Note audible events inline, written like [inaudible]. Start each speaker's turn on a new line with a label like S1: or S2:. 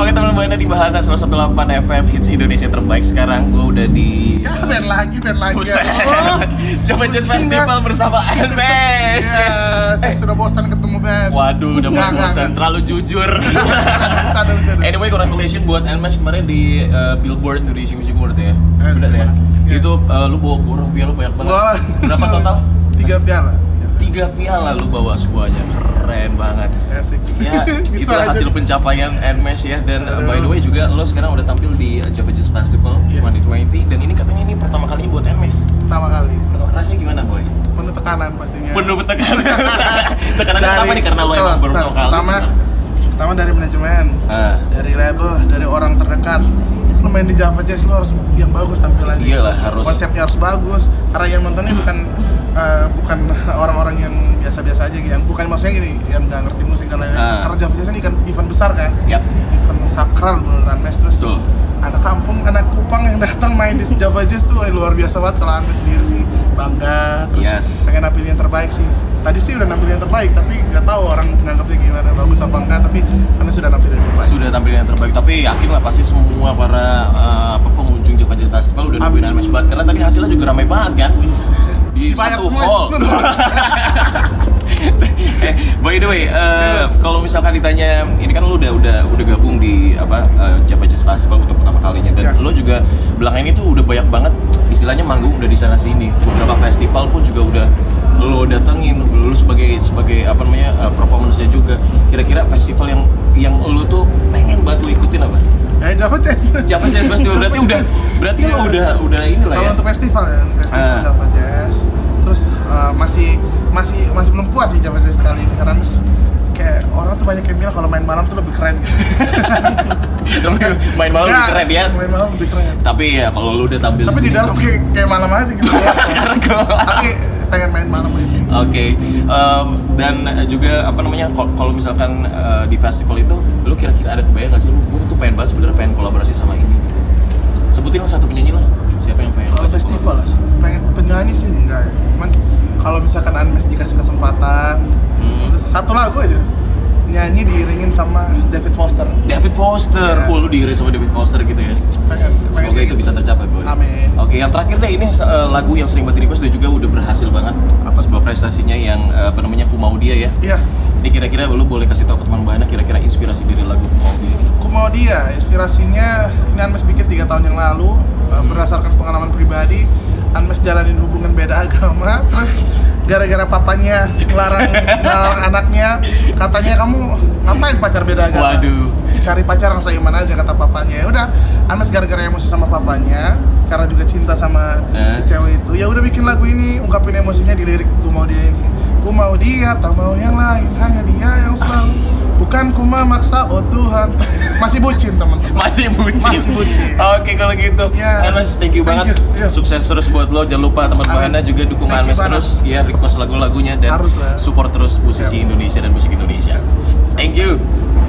S1: Oke teman Buana di Bahana 118 FM Hits Indonesia terbaik sekarang Gue udah
S2: [laughs]
S1: di
S2: Ya, band lagi, band lagi.
S1: Iya. Buset
S2: Oh,
S1: [laughs] Coba Jazz
S2: pusing,
S1: Festival Eh.
S2: ya.
S1: bersama Anmes
S2: Iya, saya sudah bosan ketemu band.
S1: Waduh udah
S2: Nggak,
S1: mulai
S2: nggak,
S1: bosan
S2: nggak.
S1: Terlalu jujur
S2: [laughs]
S1: [laughs]
S2: Bercanda, bercanda.
S1: Anyway congratulations buat Anmes kemarin di uh, Billboard Indonesia Music Award ya
S2: Eh,
S1: Udah
S2: terima
S1: ya
S2: kasih. Iya.
S1: Itu uh, lu bawa borong piala banyak banget
S2: Gua-
S1: Berapa total?
S2: Tiga piala.
S1: Tiga piala lu bawa semuanya Keren banget
S2: Iya, Asik. [laughs]
S1: ya itu
S2: aja.
S1: hasil pencapaian Nmesh ya dan uh, by the way juga lo sekarang udah tampil di uh, Java Jazz Festival
S2: Iya.
S1: 2020 dan ini katanya ini pertama kalinya buat Nmesh
S2: pertama kali.
S1: rasanya gimana boy?
S2: Penuh tekanan pastinya.
S1: penuh tekanan [laughs] tekanan
S2: Dari-
S1: apa nih karena lo emang
S2: Betul,
S1: baru pertama kali
S2: betul. Pertama, pertama dari manajemen,
S1: Ah,
S2: dari label, dari orang terdekat. Lu main di Java Jazz lu harus yang bagus tampilannya.
S1: Iyalah, harus.
S2: Konsepnya harus bagus. Karena yang nontonnya bukan eh, bukan [laughs] orang-orang yang biasa-biasa aja gitu. Yang bukan maksudnya gini, yang nggak ngerti musik dan lain-lain.
S1: Ah.
S2: Karena Java Jazz ini kan event besar kan.
S1: yap
S2: event sakral menurut Anmes terus
S1: ya, Betul.
S2: anak kampung anak Kupang yang [laughs] datang main di Java Jazz tuh eh, luar biasa banget kalau Anmes sendiri sih bangga terus
S1: Yes.
S2: pengen nampilin yang terbaik sih tadi sih udah nampilin yang terbaik tapi nggak tahu orang nganggapnya gimana bagus apa enggak tapi karena sudah nampilin yang terbaik
S1: sudah tampil yang terbaik tapi yakin lah pasti semua para uh, apa, pengunjung Java Jazz Festival udah nungguin
S2: Amin.
S1: Nmesh banget karena tadi hasilnya juga ramai banget kan
S2: Wis.
S1: di
S2: Dibayar
S1: satu
S2: semua [laughs]
S1: hall.
S2: itu.
S1: [laughs] Eh, By the way, eh, kalau misalkan ditanya, ini kan lu udah udah udah gabung di apa eh, Java Jazz Festival untuk pertama kalinya dan
S2: Ya.
S1: lu juga belakangan ini tuh udah banyak banget istilahnya manggung udah di sana sini. Beberapa festival pun juga udah lu datengin lu sebagai sebagai apa namanya eh, performance-nya juga. Kira-kira festival yang yang lu tuh pengen banget lu ikutin apa?
S2: eh Java Jazz
S1: Java
S2: [laughs]
S1: Jazz Festival berarti udah berarti lu
S2: Iya.
S1: udah udah inilah
S2: kalau
S1: ya.
S2: untuk festival ya untuk festival
S1: Ah.
S2: Java Jazz terus eh, masih masih masih belum puas sih Java Jazz kali ini karena Anmes kayak orang tuh banyak yang bilang kalau main malam tuh lebih keren gitu
S1: [laughs] [laughs] main malam lebih
S2: Nggak,
S1: keren ya.
S2: main malam lebih keren
S1: Tapi ya kalau lu udah tampil
S2: tapi di
S1: sini-
S2: dalam kayak, kayak malam aja
S1: [laughs]
S2: gitu
S1: Karena gua-
S2: tapi pengen main malam di sini
S1: Oke, em, dan juga apa namanya kal- kalau misalkan eh, di festival itu, lu kira-kira ada kebayang nggak sih lu gue tuh pengen banget sebenarnya pengen kolaborasi sama ini. Sebutin lah satu penyanyi lah, siapa yang pengen?
S2: kalau
S1: ngajak
S2: Oh, festival
S1: kolaborasi?
S2: pengen penyanyi sih enggak ya. cuman kalau misalkan Anmes dikasih kesempatan
S1: Hmm.
S2: terus satu lagu aja nyanyi diiringin sama David Foster
S1: David Foster,
S2: Ya.
S1: wah lu diiris sama David Foster gitu ya.
S2: pengen pengen
S1: Semoga
S2: kayak
S1: itu
S2: gitu.
S1: bisa tercapai boy.
S2: Amin.
S1: Oke, yang terakhir deh ini eh, lagu yang sering banget di request dan juga udah berhasil banget.
S2: Apa tuh?
S1: Sebuah prestasinya yang eh, apa namanya aku mau dia ya.
S2: iya
S1: Ini kira-kira lu boleh kasih tahu ke teman Bahana kira-kira inspirasi dari lagu aku mau dia. ini.
S2: aku mau dia inspirasinya ini Anmes bikin tiga tahun yang lalu
S1: Hmm.
S2: uh, berdasarkan pengalaman pribadi Anmes jalanin hubungan beda [laughs] agama terus gara-gara papanya ngelarang, ngelarang anaknya katanya kamu ngapain pacar beda agama
S1: Waduh.
S2: cari pacar yang seiman aja kata papanya ya udah Anas gara-gara emosi sama papanya karena juga cinta sama
S1: Eh.
S2: si cewek itu ya udah bikin lagu ini ungkapin emosinya di lirik ku mau dia ini ku mau dia tak mau yang lain hanya dia yang selalu bukan ku memaksa oh Tuhan masih bucin teman-teman
S1: [laughs] masih bucin.
S2: Masih bucin.
S1: Oke kalau gitu.
S2: Ya.
S1: Anmes, thank you
S2: Thank
S1: banget.
S2: you. Ya.
S1: Sukses terus buat lo. Jangan lupa teman-teman
S2: Amin.
S1: Anda juga dukung
S2: Thank
S1: Anmes
S2: you banget.
S1: terus ya request lagu-lagunya dan
S2: Harus lah. Ya.
S1: support terus musisi
S2: Siap.
S1: Indonesia dan musik Indonesia. Thank you.